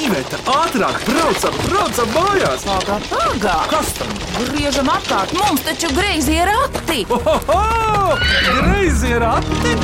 Iveta, ātrāk, braucam, braucam mājās! Ātrāk, ātrāk! Kas tam? Griežam apkārt, mums taču greizi ir rati! Ohoho! Greizi ir ati!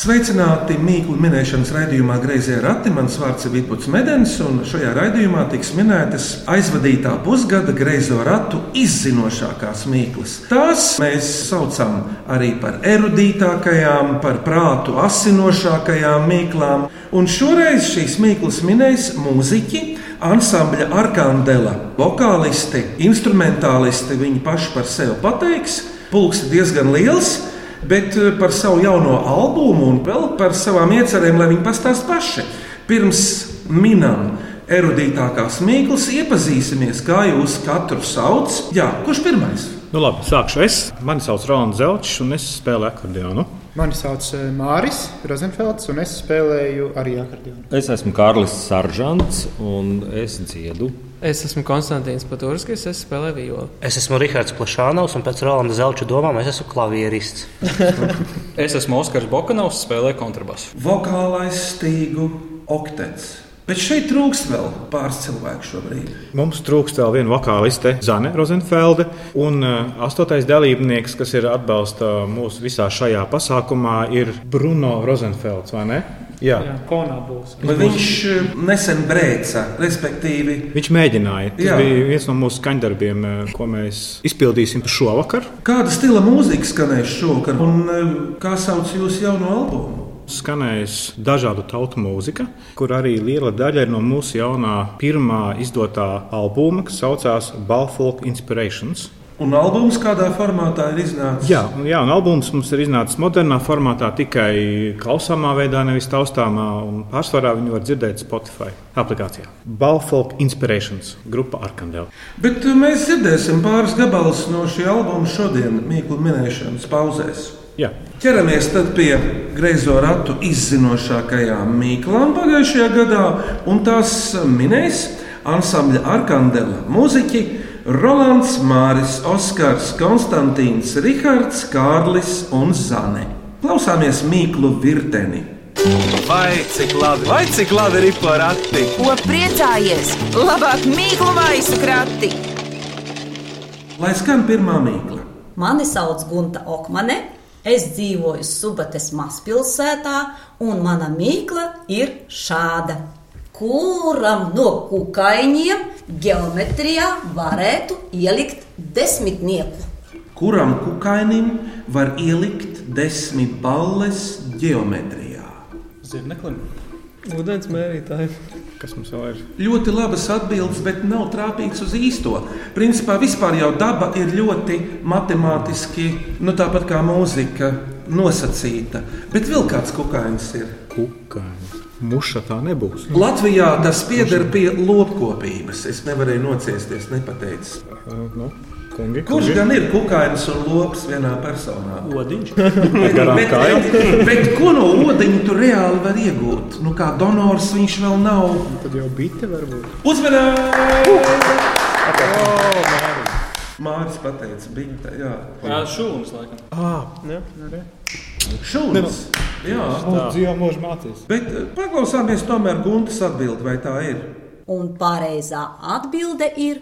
Sveicināti mīklu minēšanas raidījumā Greizē Rati. Mans vārds ir Vipuls Medens, un šajā raidījumā tiks minētas aizvadītā pusgada greizo ratu izzinošākās mīklas. Tās mēs saucam arī par erudītākajām, par prātu asinošākajām mīklām, un šoreiz šīs mīklas minēs mūziķi. Ansambļa Arkandela vokālisti, instrumentālisti viņi paši par sevi pateiks. Pulks ir diezgan liels, bet eh, par savu jauno albumu un vēl par savām iecerēm, lai viņi pastāst paši. Pirms minam erudītākās mīklas, iepazīsimies, kā jūs katru sauc. Jā, kurš pirmais? Nu, labi, sākšu es. Mani sauc Ronas Zelčs, un es spēlēju akordeonu. Mani sauc eh, Māris Rozenfelds, un es spēlēju arī akordionu. Es esmu Kārlis Saržants, un es dziedu. Es esmu Konstants Paturskis, es spēlēju violi. Es esmu Rahards Plašānovs, un pēc Rolanda Zelča domām es esmu klavierists. Es esmu Oskars Bokanovs, spēlēju kontrabasu. Vokālais stīgu oktets. Bet šeit trūks vēl pāris cilvēku šobrīd. Mums trūkst vēl viena vokāliste, Zane Rozenfelde, un uh, astotais dalībnieks, kas ir atbalsta mūsu visā šajā pasākumā, ir Bruno Rozenfelds, vai ne? Jā. Jā. Konā būs. Bet viņš eh, nesen brēca, respektīvi, Viņš mēģināja. Tas Jā. Jā. bija viens no mūsu skaņdarbiem, eh, ko mēs izpildīsim šovakar. kāda stila mūzika skanēs šovakar un eh, kā sauc jūsu jauno albumu? Skanēs dažādu tautu mūzika, kur arī liela daļa ir no mūsu jaunā pirmā izdotā albuma, kas saucās Balfolk Inspirations. Un albums kādā formātā ir iznācis? Jā, un- Nu jā, un albums mums ir iznācis modernā formātā, tikai klausāmā veidā, nevis taustāmā. un Pārsvarā viņu var dzirdēt Spotify aplikācijā. Balfolk Inspirations, grupa Arkandela. Bet eh, mēs dzirdēsim pāris gabalus no šī albuma šodien, Mīklu minēšanas pauzēs. Jā. Ķeramies tad pie greizo ratu izzinošākajām mīklām pagājušajā gadā, un tās minēs ansambļa Arkandela mūziķi Rolands, Māris, Oskars, Konstantīns, Rihards, Kārlis un Zane. Klausāmies mīklu virteni. Vai cik labi, vai cik labi ir par ati! Ko priecājies? Labāk mīklu maisu krati! Lai skan pirmā mīkla. Mani sauc Gunta Okmane. Es dzīvoju Subates mazpilsētā, un mana mīkla ir šāda. Kuram no kukaiņiem geometrijā varētu ielikt desmitnieku? Kuram kukainim var ielikt desmit balles ģeometrijā? Zirneklim. Vodens mērītājiem. Kas mums vēl ir? Ļoti labas atbildes, bet nav trāpīts uz īsto. Principā vispār jau daba ir ļoti matemātiski, nu tāpat kā mūzika, nosacīta. Bet vēl kāds kukainis ir. Kukaiņa. Muša tā nebūs. Latvijā tas pieder pie lopkopības. Es nevarēju nociesties, nepateicis. Uh, Nu, kungi, Kurš kungi. gan ir kukainis un lops vienā personā? Odiņš. Bet, Garām bet, kājām. bet, bet ko no odiņa tu reāli vari iegūt? Nu, kā donors viņš vēl nav. Tad jau bija varbūt. Uzmanīgi! Mārcis pateica, bija tā, jā. Jā, šūnas laikam. Šūnas. Jā, Dzīvo mūžu mācīs. bet eh, paklausāmies tomēr Guntas atbildi, vai tā ir. Un pareizā atbilde ir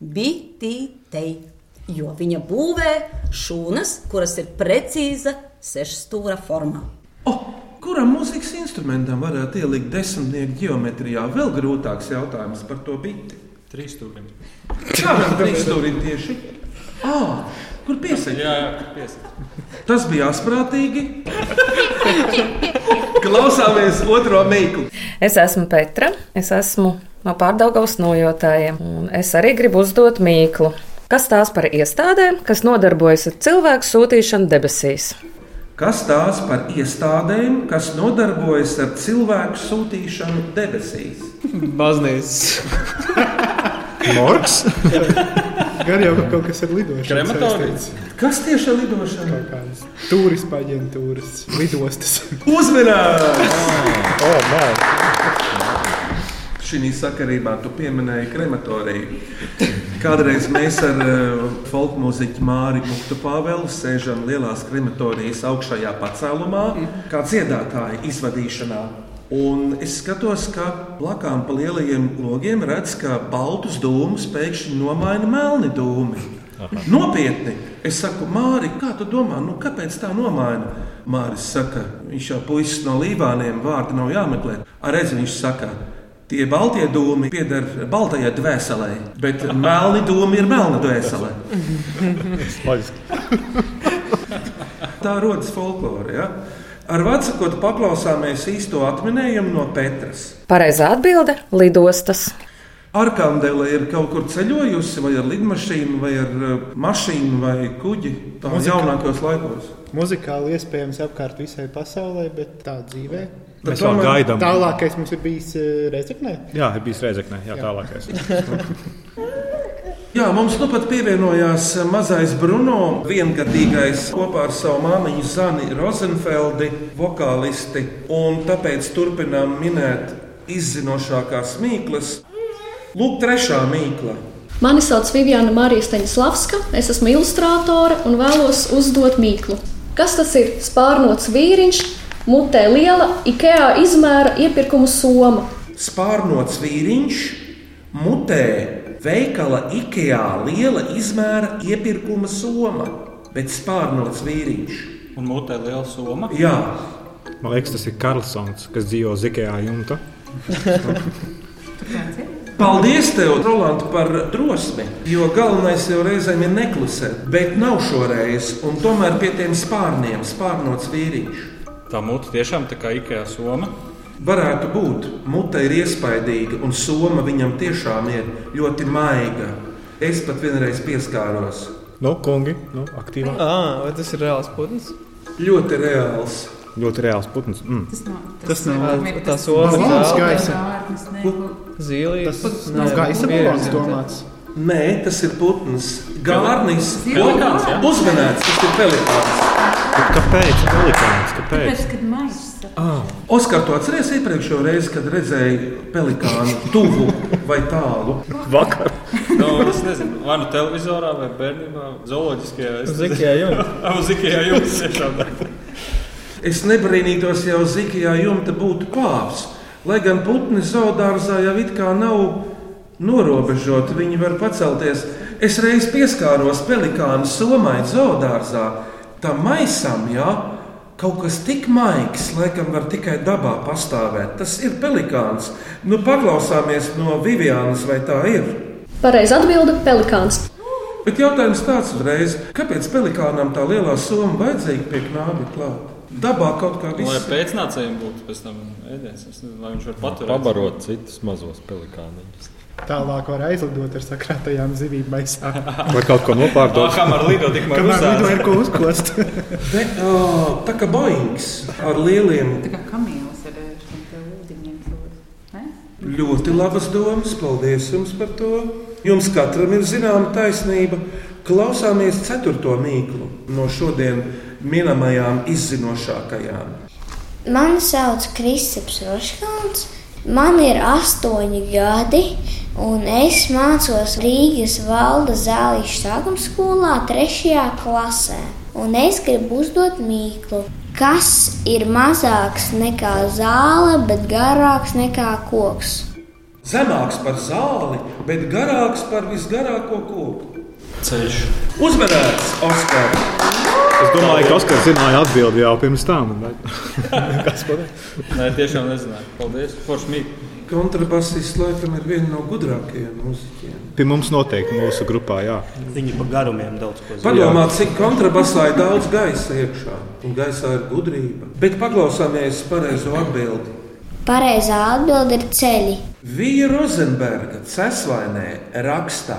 bitītei, jo viņa būvē šūnas, kuras ir precīza sešstūra formā. O, Oh, kuram mūzikas instrumentam varētu ielikt desmitnieku geometrijā? Vēl grūtāks jautājums par to biti. Trīs stūrim. Kādam trīsstūrim tieši? Ah, kur piesaistīt? Jā, jā, piesakās. Tas bija asprātīgi. Klausāmies otro mīklu. Es esmu Petra, es esmu no pārdaugavas nojotājiem, un es arī gribu uzdot mīklu. Kas tās par iestādēm, kas nodarbojas ar cilvēku sūtīšanu debesīs? Kas tās par iestādēm, kas nodarbojas ar cilvēku sūtīšanu debesīs? Baznīcas. Morgs. Gan jau ka kaut kas ir lidošs. Krematorijas? Kas tieši ir lidošana? Kādas turisma aģentūras, lidostas. Uzmanīgi! O, man. Šī sakarībā tu pieminēji krematoriju. Kādreiz mēs ar uh, folku mūziķu Māriņu Muktu Pāvelu sēžam lielās krematorijas augšējā pacēlumā, kā dziedātāja izvadīšanā. Un es skatos, ka blakām pa lielajiem logiem redz, ka baltus dūmus pēkšņi nomaina melni dūmi. Nopietni! Es saku, Māri, kā tu domā, nu, kāpēc tā nomaina? Māris saka, viņš jau puisis no Lībāniem, vārdi nav jāmeklē. Arī viņš saka, tie baltie dūmi pieder baltajai dvēselē, bet melni dūmi ir melna dvēselē. Tā rodas folklore. Ja? Ar Vatsakotu paklausāmies īsto atminējumu no Petras. Pareizā atbilde - lidostas. Arkandela ir kaut kur ceļojusi, vai ar lidmašīnu, vai ar uh, mašīnu, vai kuģi. Tā ir Muzika. jaunākajos laikos. Muzikāli iespējams apkārt visai pasaulē, bet tā dzīvē. Bet Mēs vēl tomēr- gaidām. Tālākais mums ir bijis eh, Reizekne. Jā, ir bijis reizekne, jā, tālākais. Jā, mums nu pat pievienojās uh, mazais Bruno, viengadīgais kopā ar savu māmiņu Zani Rozenfeldi, vokālisti. Un tāpēc turpinām minēt izzinošākās mīklas. Lūk, trešā mīkla. Mani sauc Viviana Marija Steņdārzlavska, es esmu ilustrātore un vēlos uzdot mīklu. Kas tas ir? Spārnots vīriņš, mutē liela IKEA izmēra iepirkuma soma. Spārnots vīriņš mutē veikala Ikea liela izmēra iepirkuma soma, bet spārnots vīriņš. Un mutē liela soma. Jā, Man liekas, tas ir Karlsons, kas dzīvo Zikajā jumta. paldies tev, Roland, par drosmi. Jo galvenais jau reizēm ir neklusēt, bet nav šoreiz, un tomēr pie tiem spārniem spārnots vīriņš. Tā mute tiešām tā kā ikajā soma. Varētu būt, mute ir iespaidīga, un soma viņam tiešām ir ļoti maiga. Es pat vienreiz pieskāros. Nu, kungi, nu, aktīvāk. Ah, vai tas ir reāls putns? Ļoti reāls. Ļoti reāls putns. Mm. Tas nav. Tas nav tā Tas soma. nav zelta. gaisa. Zilīs. Tas nav gaisa balons domāts. Nē, tas ir putns. Gārnis, Pelikāns, jā? uzmanīts, tas ir pelikāns. Kāpēc? Pelikāns, Tāpēc, kad maisa. Oskar, tu atceries iepriekšējo reizi, kad redzēji pelikānu tuvu vai tālu? Vakar. Nu, es nezinu, vai nu televizorā, vai bērnībā, zooloģiskajā. es- Uz Ikea jumta. Jā, uz Ikea jumta tiešām. Es nebrīnītos, ja uz zikajā jumta būtu pāvs. Lai gan putni zaudārzā jau it kā nav norobežoti, viņi var pacelties. Es reiz pieskāros pelikānu somai zaudārzā, tam maisam, jā. Kaut kas tik maigs, laikam, var tikai dabā pastāvēt. Tas ir pelikāns. Nu, paklausāmies no Vivianas, vai tā ir. Pareizi atbilde - pelikāns. Bet jautājums tāds uzreiz, kāpēc pelikānam tā lielā summa vajadzīga pie knābi klāt? Dabā kaut kā Lai viss. pēcnācējiem būtu pēc tam ēdiens, es nezinu, lai viņš var paturēt. Pabarot citus mazos pelikāniņus. Tālāk var aizlidot ar sakrātajām zivīm maisā. Vai kaut ko nopārdot? Ah, kamēr lido, tikmēr Kamēr uzsāc. lido ir ko uzkost. Te, o, tā kā boings ar lieliem, Tā kā kamīlis ar eh, šiem te ūdeņiem. zūd, ne? ļoti labas domas. Paldies jums par to. Jums katram ir zināma taisnība. Klausāmies ceturto mīklu no šodien minamajām izzinošākajām. Mani sauc Kristaps Roškāns. Man ir astoņi gadi, un es mācos Rīgas valda zālīšu sākuma skolā, trešajā klasē. Un es gribu uzdot mīklu, kas ir mazāks nekā zāle, bet garāks nekā koks. Zemāks par zāli, bet garāks par visgarāko koku. Ceļš. Uzmanīgs, Oskar! Es domāju, ka Oskars zināja atbildi jau pirms tam. Bet... Kas pateiks? Nē, tiešām nezināju. Paldies. Forši mīk. Kontrabasists laikam ir viena no gudrākajiem mūziķiem. Pie mums noteikti mūsu grupā, jā. Viņi pa garumiem daudz ko zina. Padomā, cik kontrabasā ir daudz gaisa iekšā, un gaisā ir gudrība. Bet paklausāmies pareizo atbildi. Pareizā atbilde ir ceļi. Vija Rozenberga ceslainē raksta,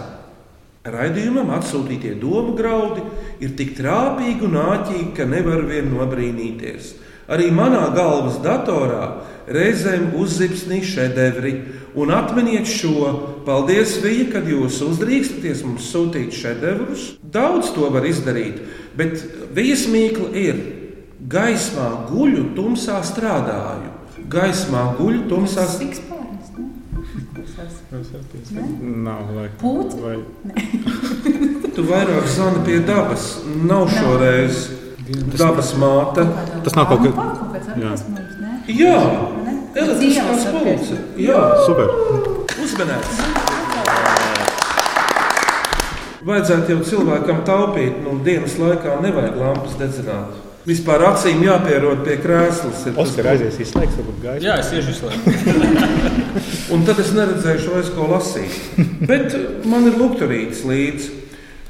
ka raidījumam atsūtītie domu graudi ir tik trāpīgi un āķīgi, ka nevar vien nobrīnīties. Arī manā galvas datorā reizēm uzzipsnīja šedevri, un atminiet šo. Paldies, Vija, kad jūs uzdrīkstaties mums sūtīt šedevrus. Daudz to var izdarīt, bet vijas mīkla ir gaismā guļu, tumsā strādāju. Gaismā guļu, tumsā strādāju. Spārns, ne? Nav laika. Pūti? Vai... Tu vairāk zani pie dabas. Nav šoreiz dabas māte. Tas nav kaut Kaut kas. kāds Jā. atrast mums, ne? Jā, Ne? elektriskā Dzīves spulce. apkārt. Jā, Super. uzmanēts. Vajadzētu jau cilvēkam taupīt, nu, dienas laikā nevajag lampas dedzināt. Vispār acīm jāpierod pie krēslas. ir tas Oskar aizies izslēgts, varbūt gaisa. Jā, es iešu visu laiku. Un tad es neredzēšu vairs ko lasīt. Bet eh, man ir lukturīts līdzi.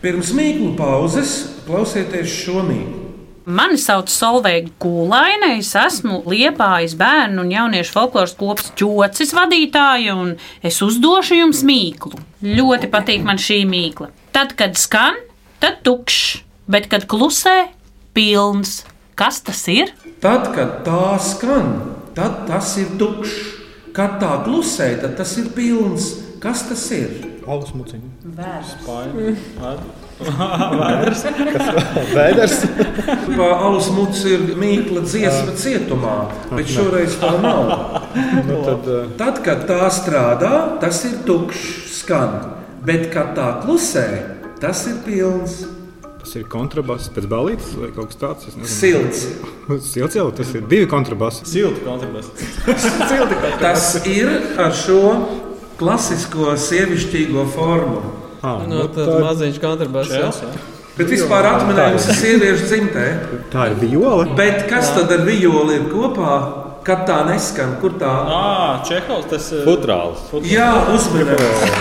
Pirms mīklu pauzes klausieties šo mīklu. Mani sauc Solveiga Gulaina. Es esmu Liepājas bērnu un jauniešu folkloras kopas ķocis vadītāja, un es uzdošu jums mīklu. Ļoti patīk man šī mīkla. Tad, kad skan, tad tukšs, bet kad klusē, pilns. Kas tas ir? Tad, kad tā skan, tad tas ir tukšs. Kad tā klusē, tad tas ir pilns. Kas tas ir? Alus muciņa. Vēders. Vēders. Kā alus mucis ir mīkla dziesma cietumā, bet šoreiz tā nav. Nu, tad, uh, Tad, kad tā strādā, tas ir tukšs skan. Bet, kad tā klusē, tas ir pilns. tas ir kontrabass pēc balītas vai kaut kas tāds. es nezinu. Silts. Silts jau tas ir divi kontrabasi. Silti kontrabass. Tas ir ar šo klasisko sievišķīgo formu. Ah, Nu, tāds maziņš kontrabass. jā. Bet vispār atminējums ir sieviešu dzimtē. Tā ir viola. Bet kas tad ar vijoli ir kopā, kad tā neskan? Kur tā? Ā, Čehovs, tas ir. Futrāls. Jā, uzmanīgi.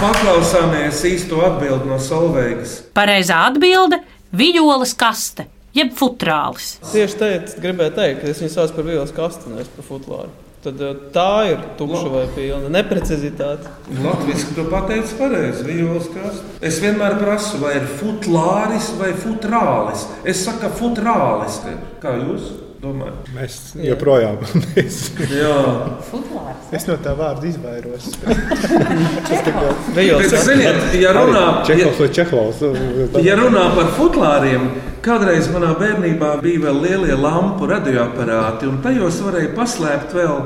Paklausāmies īsto atbildi no Solveigas. Pareizā atbilde - vijoles kaste, jeb futrālis. Tieši teicu, gribēju teikt, ka es viņu saucu par vielas kastu, nevis par futlāru. Tad eh, tā ir tukša vai pilna neprecizitāte. Latvijas to pateicis pareizi. vijoles kārs. Es vienmēr prasu, vai ir futlāris vai futrālis. Es saku, futrālis. ir. Kā jūs domājat? Mēs joprojām. mēs- Jā. Futlārs. Es no tā vārda izvairos. Bet, ziniet, ja runā- Čehovs vai Čehovs. Ja runā par futlāriem, kādreiz manā bērnībā bija vēl lielie lampu radioaparāti, un tajos varēja paslēpt vēl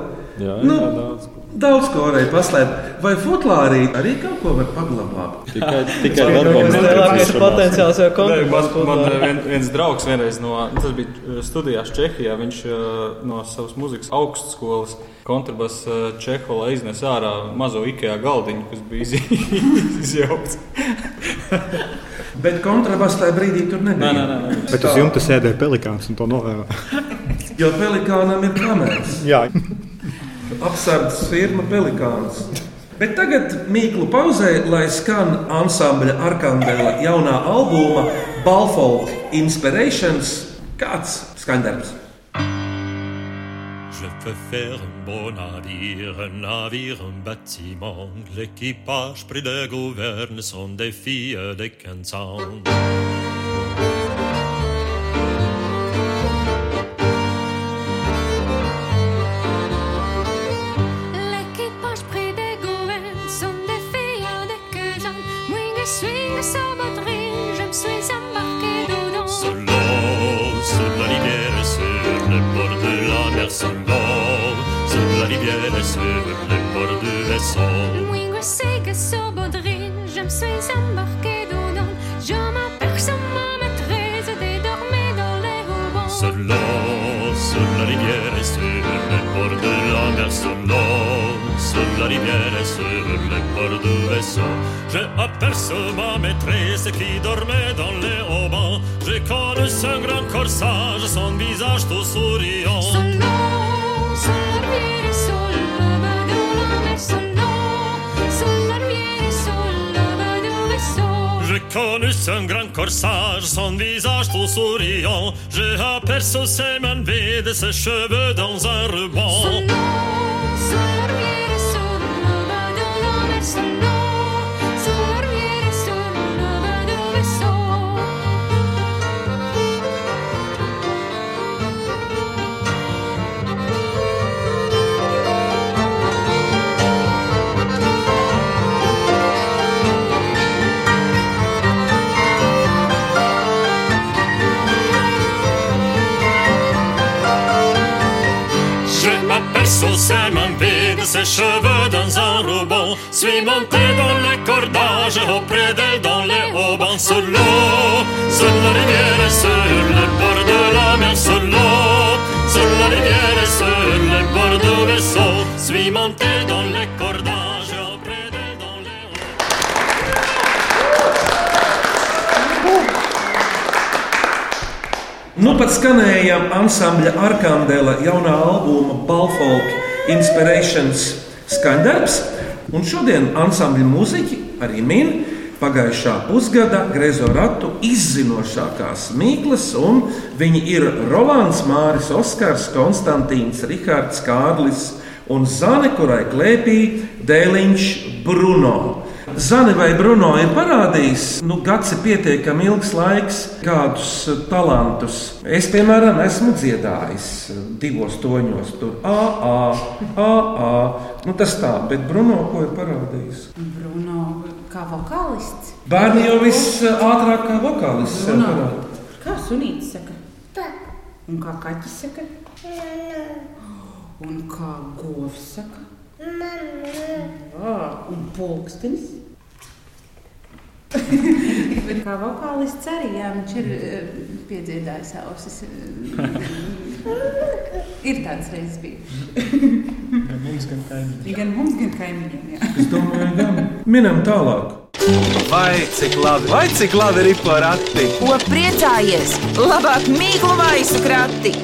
Jā, Nu. jā, daudz. daudz ko varēja paslēpt. Vai futlārī arī kaut ko var paglabāt? Tikai, Tas tikai bija vēl viens kaut lielākais kas tāds. potenciāls jau Nē, Man, kontrabass man eh, futlārā. vien, viens draugs vienreiz no, tas bija uh, studijās Čehijā, viņš uh, no savas muzikas augstskolas kontrabas uh, Čehola iznesa ārā mazo Ikea galdiņu, kas bija iz- izjaukts. Bet kontrabass tajā brīdī tur nebija. Nē, nē, nē, nē. Bet uz jumta sēdēja pelikāns un to novēlēja. Jo pelikānam ir kameras. Jā, Apsardzes firma Pelikāns. Bet tagad mīklu pauzē, lai skan ansambļa Arkangela jaunā albuma Balfolk Inspirations kāds skandarbs. Je peux faire un beau navire, un navire, un bâtiment. L'équipage pris de gouverne sont des filles de 15 ans. L'équipage pris des gouvernes sont des filles de 15 ans. Moi, je suis une saboterie, je me suis embarquée dedans. Solo, sur la rivière, et sur le bord de la mer Solo, sur la rivière, et sur le bord du vaisseau. Moi, je sais que saboterie, je me suis embarquée dedans. Je m'aperçois ma maîtrise de dormir dans les rubans. Solo, sur la rivière, et sur le bord de la mer Solo, sur la rivière, et sur le bord du vaisseau. J'ai aperçu ma maîtresse qui dormait dans les haubans. J'ai connu son grand corsage, son visage tout souriant. Solo, solo viene solo, vado la mer solo. Solo viene solo, vado solo. J'ai connu son grand corsage, son visage tout souriant. J'ai aperçu ses mains vides, ses cheveux dans un ruban. Solo, solo riviere solo, vado la mer solo. Solo riviere solo, vado dove Je m'aperçois, c'est ma vie de ses cheveux dans un rebond. Suis monté dans les cordages, auprès d'elle dans les haubans. Solo, sur la rivière et sur le bord de la mer. Solo, sur la rivière et sur le bord du vaisseau. Suis monté dans les cordages, auprès d'elle dans les Nu pat skanējām ansambļa Arkandela jaunā albuma Balfolk Inspirations skandarbs, un šodien ansambļa mūziķi arī min pagājušā pusgada Grezo Ratu izzinošākās mīklas, un viņi ir Rolands, Māris, Oskars, Konstantīns, Rihards, Kārlis un Zane, kurai klēpī dēliņš Bruno. Zani vai Bruno ir parādījis, nu, gads ir pietiekami ilgs laiks, kādus eh, talantus. Es, piemēram, esmu dziedājis eh, divos toņos, tur AA, AA. Nu, tas tā, bet Bruno ko ir parādījis? Bruno, kā vokālists. Bērni jau visātrāk kā vokālists sev Bruno. parāda. Kā sunīts saka? Un kā kaķis saka? Un kā govs saka? Jā, un pulkstenis. Bet kā vokālists arī, jā, viņš ir eh, piedziedājis ausis. ir tāds reizes bijis. Gan mums, gan kaimiņiem. Gan mums, gan kaimiņiem. Jā. Es domāju, gan minam tālāk. Vai cik labi, vai cik labi ir porati? Ko priecājies? Labāk mīklu maisu krati!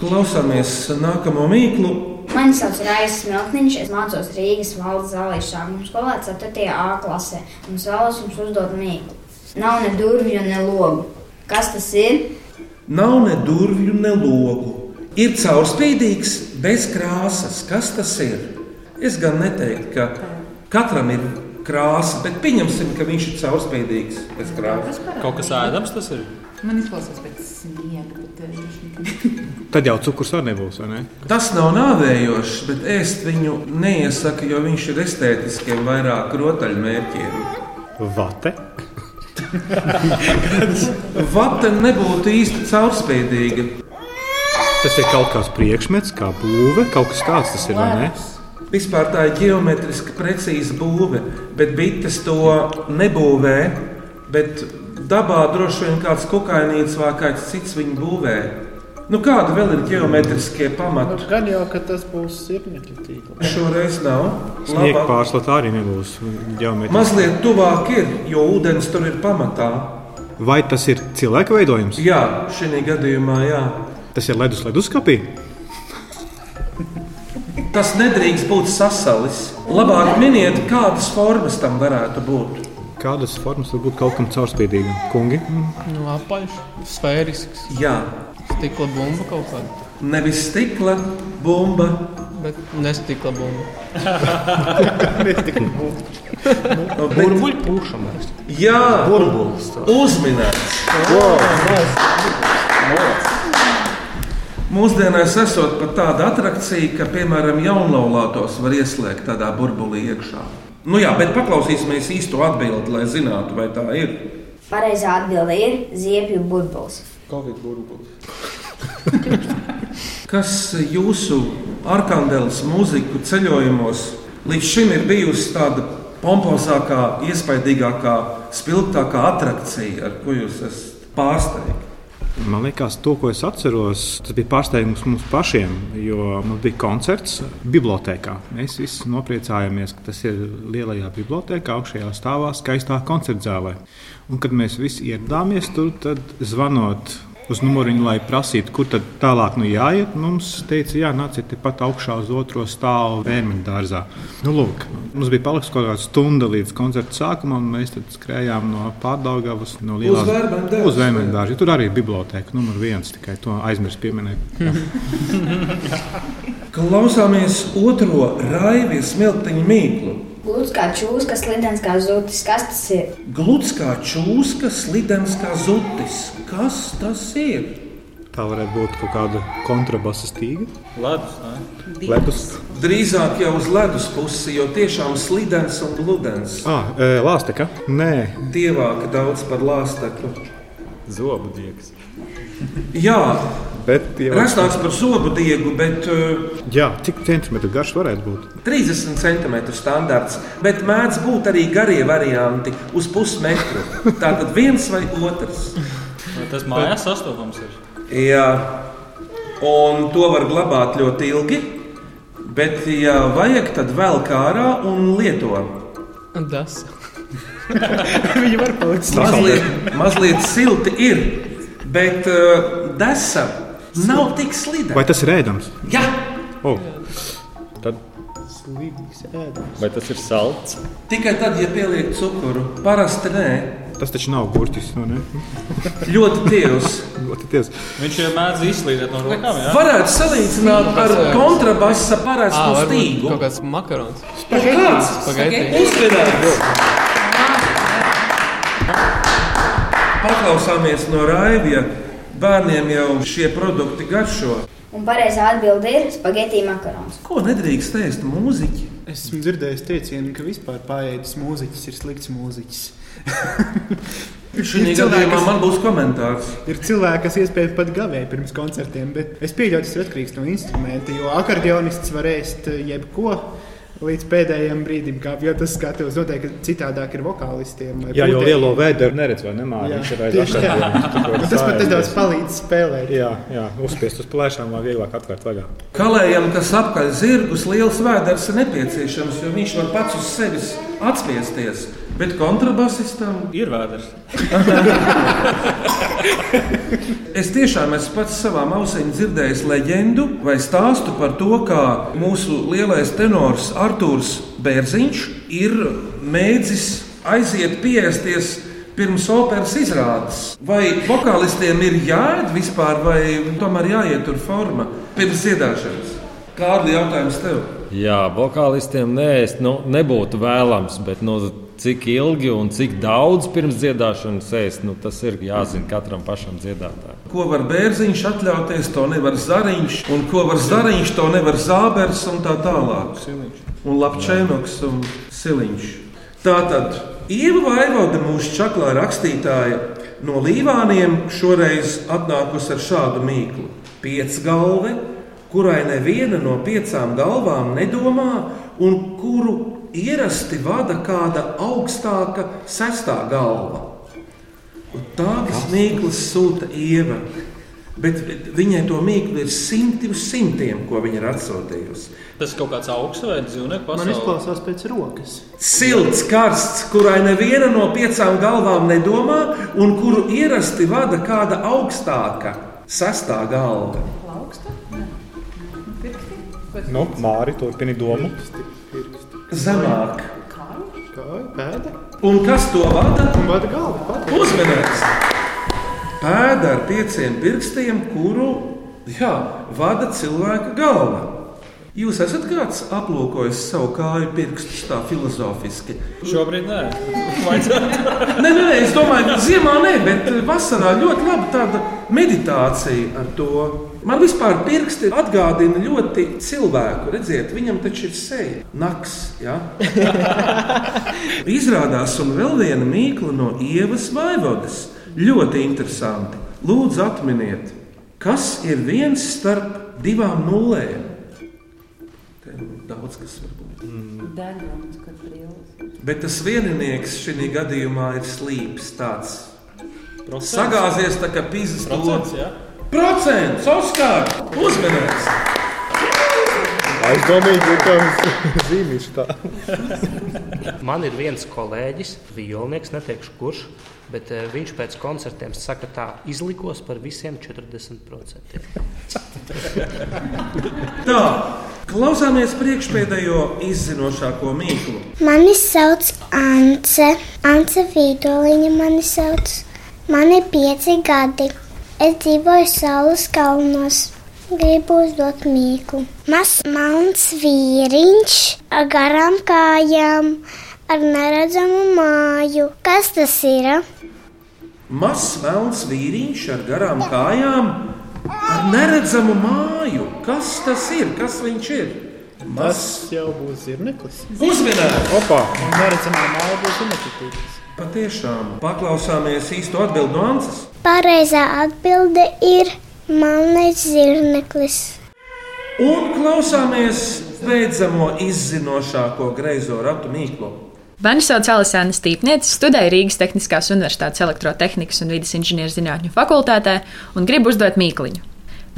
Klausāmies nākamo mīklu. Mani sauc Raisa Smiltniņš, es mācos Rīgas valsts zālēs sākuma skolā 4. A klasē. Un es vēlos jums uzdot mīklu. Nav ne durvju, ne logu. Kas tas ir? Nav ne durvju, ne logu. Ir caurspīdīgs, bez krāsas. Kas tas ir? Es gan neteiktu, ka katram ir krāsa, bet pieņemsim, ka viņš ir caurspīdīgs, bez krāsas. Kaut kas ēdams tas ir? Man izklausās pēc sniega, bet eh, viņš nekad Tad jau cukurs arī nebūs, vai ne? Tas nav nāvējošs, bet ēst viņu neiesaka, jo viņš ir estētiskiem, vairāk rotaļmērķiem. Vate. Vata nebūtu īsti caurspīdīga. Tas ir kaut kāds priekšmets, kā būve, kaut kas tāds tas ir, vai ne? Vispār tā ir geometriski precīza būve, bet bites to nebūvē. Bet dabā droši vien kāds kukainīts vai kāds cits viņu būvē. Nu, kāda vēl ir geometriskie pamati? Nu, gan jau, ka tas būs sirmekļa tīkls. Šoreiz nav. Sniega Labāk. pārslata arī nebūs. ģeometriski. Mazliet tuvāk ir, jo ūdens tur ir pamatā. Vai tas ir cilvēka veidojums? Jā, šī gadījumā jā. Tas ir ledus leduskapī. Tas nedrīkst būt sasalis. Labāk miniet, kādas formas tam varētu būt. Kādas formas var būt kaut kam caurspīdīgam? Kungi, Nu, Apaļš, sfērisks. Jā. Stikla bumba kaut kāda. Nevis stikla, bumba. Bet nestikla bumba. Burbuļu pūšamais. Jā, Burbulis tāds. Uzminēts! Mūsdienās esot pat tāda attrakcija, ka, piemēram, jaunlaulātos var ieslēgt tādā burbulī iekšā. Nu jā, bet paklausīsimies īsto atbildi, lai zinātu, vai tā ir. Pareizā atbilde ir ziepju burbulis. Covid burbulis. Kas jūsu arkāndeles mūziku ceļojumos līdz šim ir bijusi tāda pompozākā, iespaidīgākā, spilgtākā attrakcija, ar ko jūs esat pārsteigti? man liekas, to, ko es atceros, tas bija pārsteigums mums pašiem. Jo mums bija koncerts bibliotekā. Mēs visi nopriecājāmies, ka tas ir lielajā bibliotekā, augšējā stāvā, skaistā koncerta zālē. Un kad mēs visi ieradāmies tur, tad zvanot. Uz numuriņu, lai prasītu, kur tad tālāk nu jāiet. Mums teica, jā, nāciet tepat augšā uz otro stāvu vērmeņa dārzā. Nu, lūk, mums bija palikusi kaut kāda stunda līdz koncerta sākumam, un mēs tad skrējām no Pārdaugavas, no Lielās Vērmeņa dārza. Uz Vērmeņa dārza. Tur arī ir biblioteka numur viens, tikai to aizmirst pieminēt. Klausāmies otro raivju smiltiņu mīklu. Gluds kā čūs, kas lidens kā zutis. Kas tas ir? Gluds kā čūska, slidens kā zutis. Kas tas ir? Tā varētu būt kaut kāda kontrabasa stīga. Ledus, ne? Ledus. Drīzāk jau uz ledus pusi, jo tiešām slidens un gludens. Ah, Lāsteka? Nē, Dievāk daudz par lāstekli. Zobu diegs. Jā, Bet, ja Rastāks par sobu diegu, bet uh, Jā, cik centimetru garš varētu būt? 30 cm standarts. Bet mēdz būt arī garie varianti uz pusmetru. Tā tad viens vai otrs. Vai Tas mājās sastopams ir. Jā, un to var glabāt ļoti ilgi. Bet, ja vajag, tad vēl kā ārā un lieto. Tas Viņi var palikt Mazliet, mazliet silti ir, bet uh, desa nav tik slida. Vai tas ir ēdams? Jā, Oh. Tad, slīdīgs ēdams. vai tas ir salds? tikai tad, ja pieliek cukuru. Parasti nē, Tas taču nav gurķis. Nu, ne? ļoti tievs. Ļoti ties. Viņš jau mēdz izslīdēt no rokām. jā? Varētu salīdzināt ar kontrabasa Ā, parastu varbūt stīgu. Kaut kāds makarons. Kāds? Spaghetti. Uzvedās! Paklausāmies no Raivija. Bērniem jau šie produkti garšo. Un pareizā atbilde ir spagetti makarons. Ko nedrīkst ēst mūziķi? Esmu dzirdējis teicienu, ka vispār pārējais mūziķis ir slikts mūziķis. Šī gadījumā man būs komentārs. Ir cilvēki, kas iespējams pat gavē pirms koncertiem, bet es pieļauju, tas ir atkarīgs no instrumenta. Jo akordeonists var ēst eh, jebko līdz pēdējiem brīdim, kā jau tas skatos. Noteikti citādāk ir vokālistiem. vai Jā, jau putēm. lielo vēderu neredz, vai ne? Jā, Mārķis ir tieši tā. Un Tas pat nedaudz palīdz spēlēt. Jā, jā, uzspiest uz plēšām, lai vieglāk atvērt vaļā. Kalējam, kas apkaļ zirgus, liels vēders ir nepieciešams, jo viņš var pats uz sevis atspiesties. Bet kontrabasistam Ir vēders. Es tiešām esmu pats savām ausīm dzirdējis leģendu vai stāstu par to, kā mūsu lielais tenors Arthurs Bērziņš ir mēģis aiziet piesties pirms operas izrādes. Vai vokālistiem ir jāiet vispār, vai tomēr jāiet tur forma pirms dziedāšanas? Kāda jautājums tev? Jā, vokālistiem nē, es nu, nebūtu vēlams, bet nu, cik ilgi un cik daudz pirms dziedāšanas ēst, nu, tas ir jāzina katram pašam dziedātājam. Ko var bērziņš atļauties, to nevar zariņš, un ko var zariņš, to nevar zābers un tā tālāk. Un lapčēnoks un siliņš. Tā tad Ieva Vaivoda mūsu čaklā rakstītāja no Līvāniem šoreiz atnākusi ar šādu mīklu. Piecgalve, kurai neviena no piecām galvām nedomā un kuru Ierasti vada kāda augstāka, sestā galva. Un Tādas mīklas sūta Ieva. Bet viņai to mīklu ir simti uz simtiem, ko viņa ir atsūtījusi. Tas kaut kāds augsts vai dzīvnieku Man pasaules. izklausās pēc rokas. Silts, karsts, kurai neviena no piecām galvām nedomā, un kuru ierasti vada kāda augstāka, sastā galva. Nu, Māri, turpini domu. Zemāk. Kā pēda? Un kas to vada? Un vada galva pati. Uzmanības! Pēda ar pieciem pirkstiem, kuru jā, vada cilvēka galva. Jūs esat kāds aplūkojis savu kāju pirkstus tā filozofiski. Šobrīd nē. Vajadzētu. Nē, nē, nē, es domāju, ka ziemā nē, bet vasarā ļoti labi tāda meditācija ar to. Man vispār pirksti atgādina ļoti cilvēku. Redziet, viņam taču ir seja, naks. Ja? Izrādās, un vēl viena mīkla no ievas vaivodas. Ļoti interesanti. Lūdzu, atminiet, kas ir viens starp divām nulēm? Te Daudz kas var būt. Degons, kad brīvs. Bet tas vienīgais šajā gadījumā ir slīps. Tāds. Procents. Sagāzies tā kā pīzes Procents, jā. Procents, Oskar! Uzmanības! Aizdomīgi, ka zīmīšu tā. Man ir viens kolēģis, violnieks, neteikšu kurš, bet eh, viņš pēc koncertiem saka, tā izlikos par visiem 40%. Tā, klausāmies priekšpēdējo izzinošāko mīklu. Mani sauc Ance. Ance Vīdoliņa mani sauc. Man ir pieci gadi. Es dzīvoju Saules kalnos. Gribu uzdot mīklu. Mazs melns vīriņš ar garām kājām, ar neredzamu māju. Kas tas ir? Mazs melns vīriņš ar garām kājām, ar neredzamu māju. Kas tas ir? Kas viņš ir? Tas Mazs jau būs zirneklis. uzmanības! Opa! Un neredzamā māla būs zirneklis. Patiešām paklausāmies īsto atbildi no Ances. Pareizā atbilde ir Melnais zirneklis. Un klausāmies beidzamo izzinošāko greizo ratu mīklu. Mani sauc Alisāna Stīpniece, studēju Rīgas Tehniskās Universitātes elektrotehnikas un vidas inženierzinātņu fakultātē un gribu uzdot mīkliņu.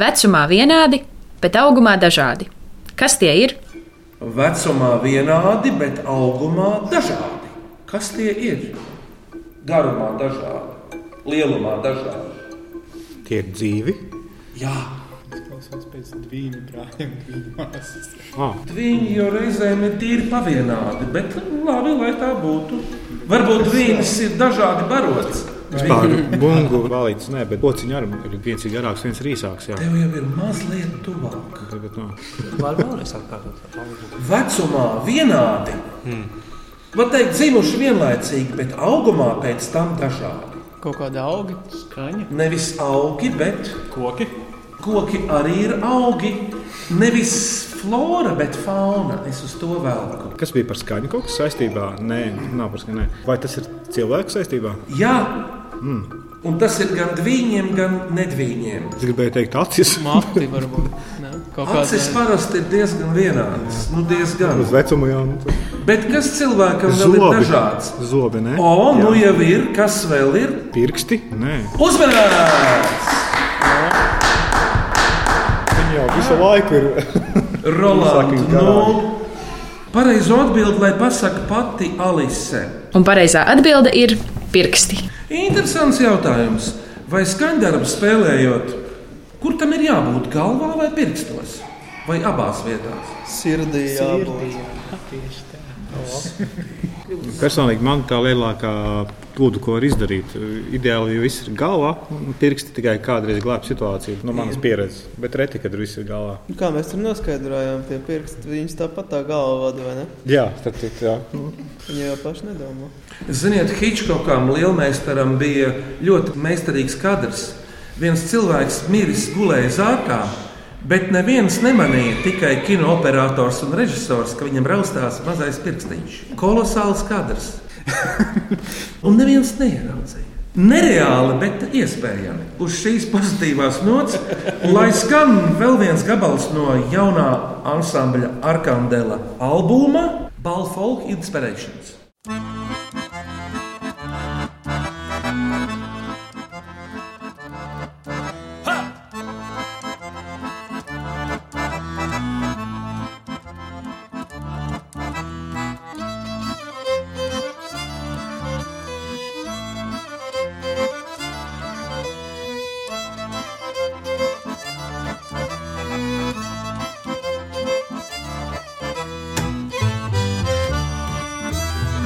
Vecumā vienādi, bet augumā dažādi. Kas tie ir? Vecumā vienādi, bet augumā dažādi. Kas tie ir? Garumā dažādi, lielumā dažādi. Tie ir dzīvi. Jā, Klausās pēc diviem brāļiem, diviem māsas. Ah. Viņi jau reizēm ir tīri pavienādi, bet labi, lai tā būtu. Varbūt viņas ir dažādi barots. Vispār bungu valīts, nē, bet pociņš arī ir viens ir garāks, viens ir īsāks. Jā. Tev jau ir mazliet tuvāk. Tagad, nu, no. Var vēlreiz atkārtot. Vecumā vienādi. Var teikt, dzimuši vienlaicīgi, bet augumā pēc tam dažādi. Kaut kāda auga, skaņa. Nevis augi, bet koki. Koki arī ir augi. Nevis flora, bet fauna. Es uz to vēlku. Kas bija par skaņu kaut kas saistībā? Nē, nav par skaņu. nē. Vai tas ir cilvēks saistībā? Jā, mm. un tas ir gan dviņiem, gan nedviņiem. Es gribēju teikt, acis. Mākslinieks varbūt. Ne? Kaut kāds, Acis parasti ir diezgan vienādas. Nu, diezgan. Uz vecumu jau nu, tas- Bet kas cilvēkam vēl ir dažāds? Zobi, nē. O, nu jau ir, kas vēl ir? Pirksti? Nē. Uzmanības! Viņi jau visu laiku ir. Rolands, Saki, nu, pareizo atbildi, lai pasaka pati Alise. Un pareizā atbilde ir pirksti. Interesants jautājums. Vai skaņdarbs spēlējot, kur tam ir jābūt? Galvā vai pirkstos? Vai abās vietās? Sirdī jābūt. Tieši tā. Personīgi man tā lielākā kļūda, ko var izdarīt, ideāli jau viss ir galvā, un pirksti tikai kādreiz glābj situāciju no manas pieredzes. Bet reti, kad viss ir galvā. Nu, Kā mēs tur noskaidrojām, pie pirksta viņas tāpat tā galva vada, vai ne? Jā, starp citu, jā. Viņa jau paši nedomā. Ziniet, Hitchcockam lielmeistaram bija ļoti meistarīgs kadrs. Viens cilvēks miris gulēja zārkā, bet neviens nemanīja tikai kinooperators un režisors, ka viņam raustās mazais pirkstiņš. Kolosāls kadrs. un neviens neieraudzīja. Nereāli, bet iespējami. Uz šīs pozitīvās nots, lai skan vēl viens gabals no jaunā ansambļa Arkandela albuma Balfolk Inspirations. Thank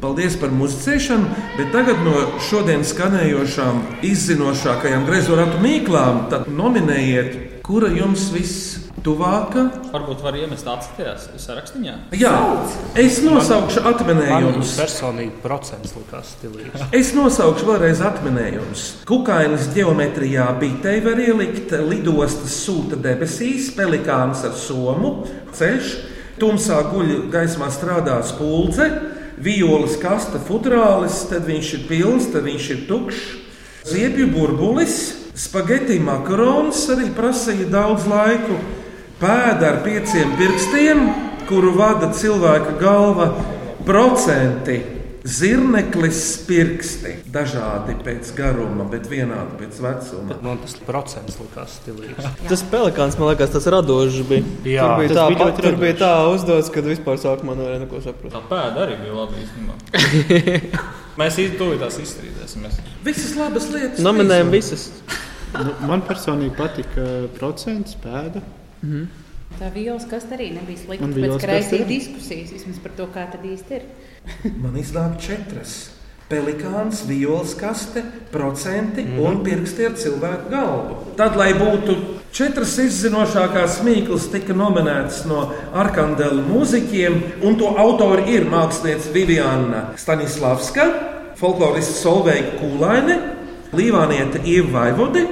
Paldies par muzicēšanu, bet tagad no šodienas skanējošām, izzinošākajām greizorātu mīklām tad nominējiet, kura jums vistuvāka. Varbūt var iemest atcerēties sarakstā. Jā, es nosaukšu atminējumus. personīgi procents likās stilīgs. Es nosaukšu vēlreiz atminējumus. Kukainas geometrijā bitei var ielikt, lidostas sūta debesīs, pelikāns ar somu, ceļš, tumsā guļ gaismā strādā spuldze, violas kasta futrālis, tad viņš ir pilns, tad viņš ir tukšs, ziepju burbulis, spageti makarons arī prasīja daudz laiku, pēda ar pieciem pirkstiem, kuru vada cilvēka galva, procenti. Zirneklis, pirksti, dažādi pēc garuma, bet vienādi pēc vecuma. Man tas procents likās stilīgs. Tas pelikāns man liekas, tas radošs bija. Jā, tur bija tas tā, bija pat, ļoti tur bija radošs. tā uzdots, kad vispār sākumā nevarēja neko saprast. Tā pēda arī bija labi īstenībā. Mēs īstenībā tās izstrīdēsimies. Visas labas lietas. Nominējam visas. Nu, man personīgi patika procents, pēda. Mm. Tā vīles kaste arī nebija slikta. Un Pēc vielas kaste kreisī arī. diskusijas vismaz par to, kā tad īsti ir. Man iznāk četras. Pelikāns, violas kaste, procenti mm -hmm. un pirksti ar cilvēku galvu. Tad, lai būtu četras izzinošākās mīklas, tika nominētas no Arkandela mūziķiem, un to autori ir mākslinieca Viviana Stanislavska, folklorista Solveiga Kūlaine, Līvānieta Ieva Vaivode.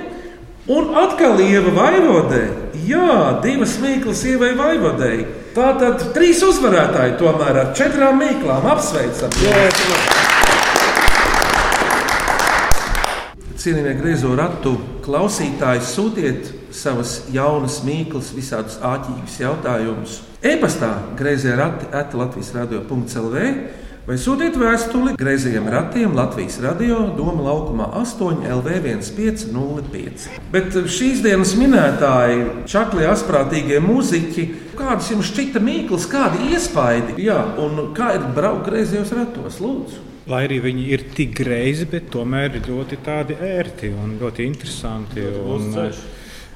Un atkal ieva vaivode. Jā, divas mīklas ievai vaivodei. Tā tad trīs uzvarētāji tomēr ar četrām mīklām apsveicam. Cienījamie griezo ratu klausītāji, sūtiet savas jaunas mīklas, visādus āķīgus jautājumus. E-pastā grazē rati atlatvijas radio.clv vai sūtiet vēstuli grazējiem ratiem Latvijas radio Doma laukumā 8 LV1505. Bet šīs dienas minētāji, čakli asprātīgie mūziķi, kādas jums šķita mīklas, kādi iespaidi, jā, un kā ir braukt grazējos ratos, lūdzu. Lai arī viņi ir tik greizi, bet tomēr ir ļoti tādi ērti un ļoti interesanti. Un, eh, uzceļš.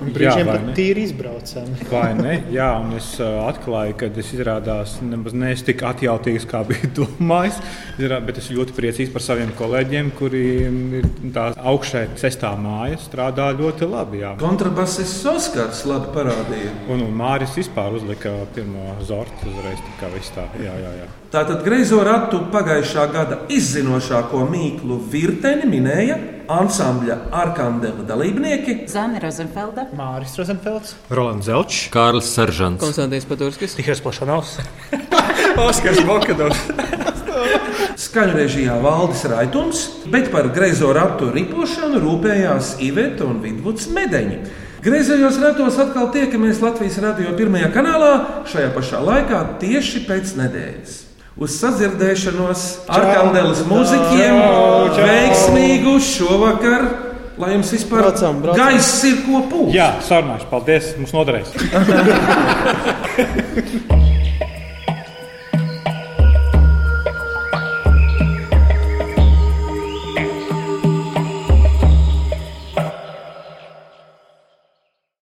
Un Jā, brīžiem vai pat ne? tīri izbraucami. Vai ne? Jā, un es uh, atklāju, ka es izrādās nemaz neesmu tik atjautīgs, kā biju domājis. Izrā- Bet es ļoti priecīgs par saviem kolēģiem, kuriem ir tā augšējā sestā māja strādā ļoti labi. jā. Kontrabasists Oskars labi parādīja. Un, un Māris vispār uzlika pirmo zortu uzreiz. tā kā viss Tā, jā, jā, jā. Tātad greizo ratu pagājušā gada izzinošāko mīklu virteni minēja ansambļa Arkandela dalībnieki. Zana Rozenfelda. Māris Rozenfelds. Rolands Zelčs, Kārlis Seržants. Konstants Paturskis. Tikai plašanās. Oskars Bokadovs. Skaņu režijā valdis raitums, bet par greizo ratu ripošanu rūpējās Iveta un Vidvuds Medeņi. Greizējos ratos atkal tiekamies Latvijas radio pirmajā kanālā šajā pašā laikā tieši pēc nedēļas. Uz sadzirdēšanos ar Kandelas mūziķiem Čau! Čau! veiksmīgu šovakar, lai jums vispār gaiss ir ko pūst. Jā, sarunāšu, paldies, mums noderēs.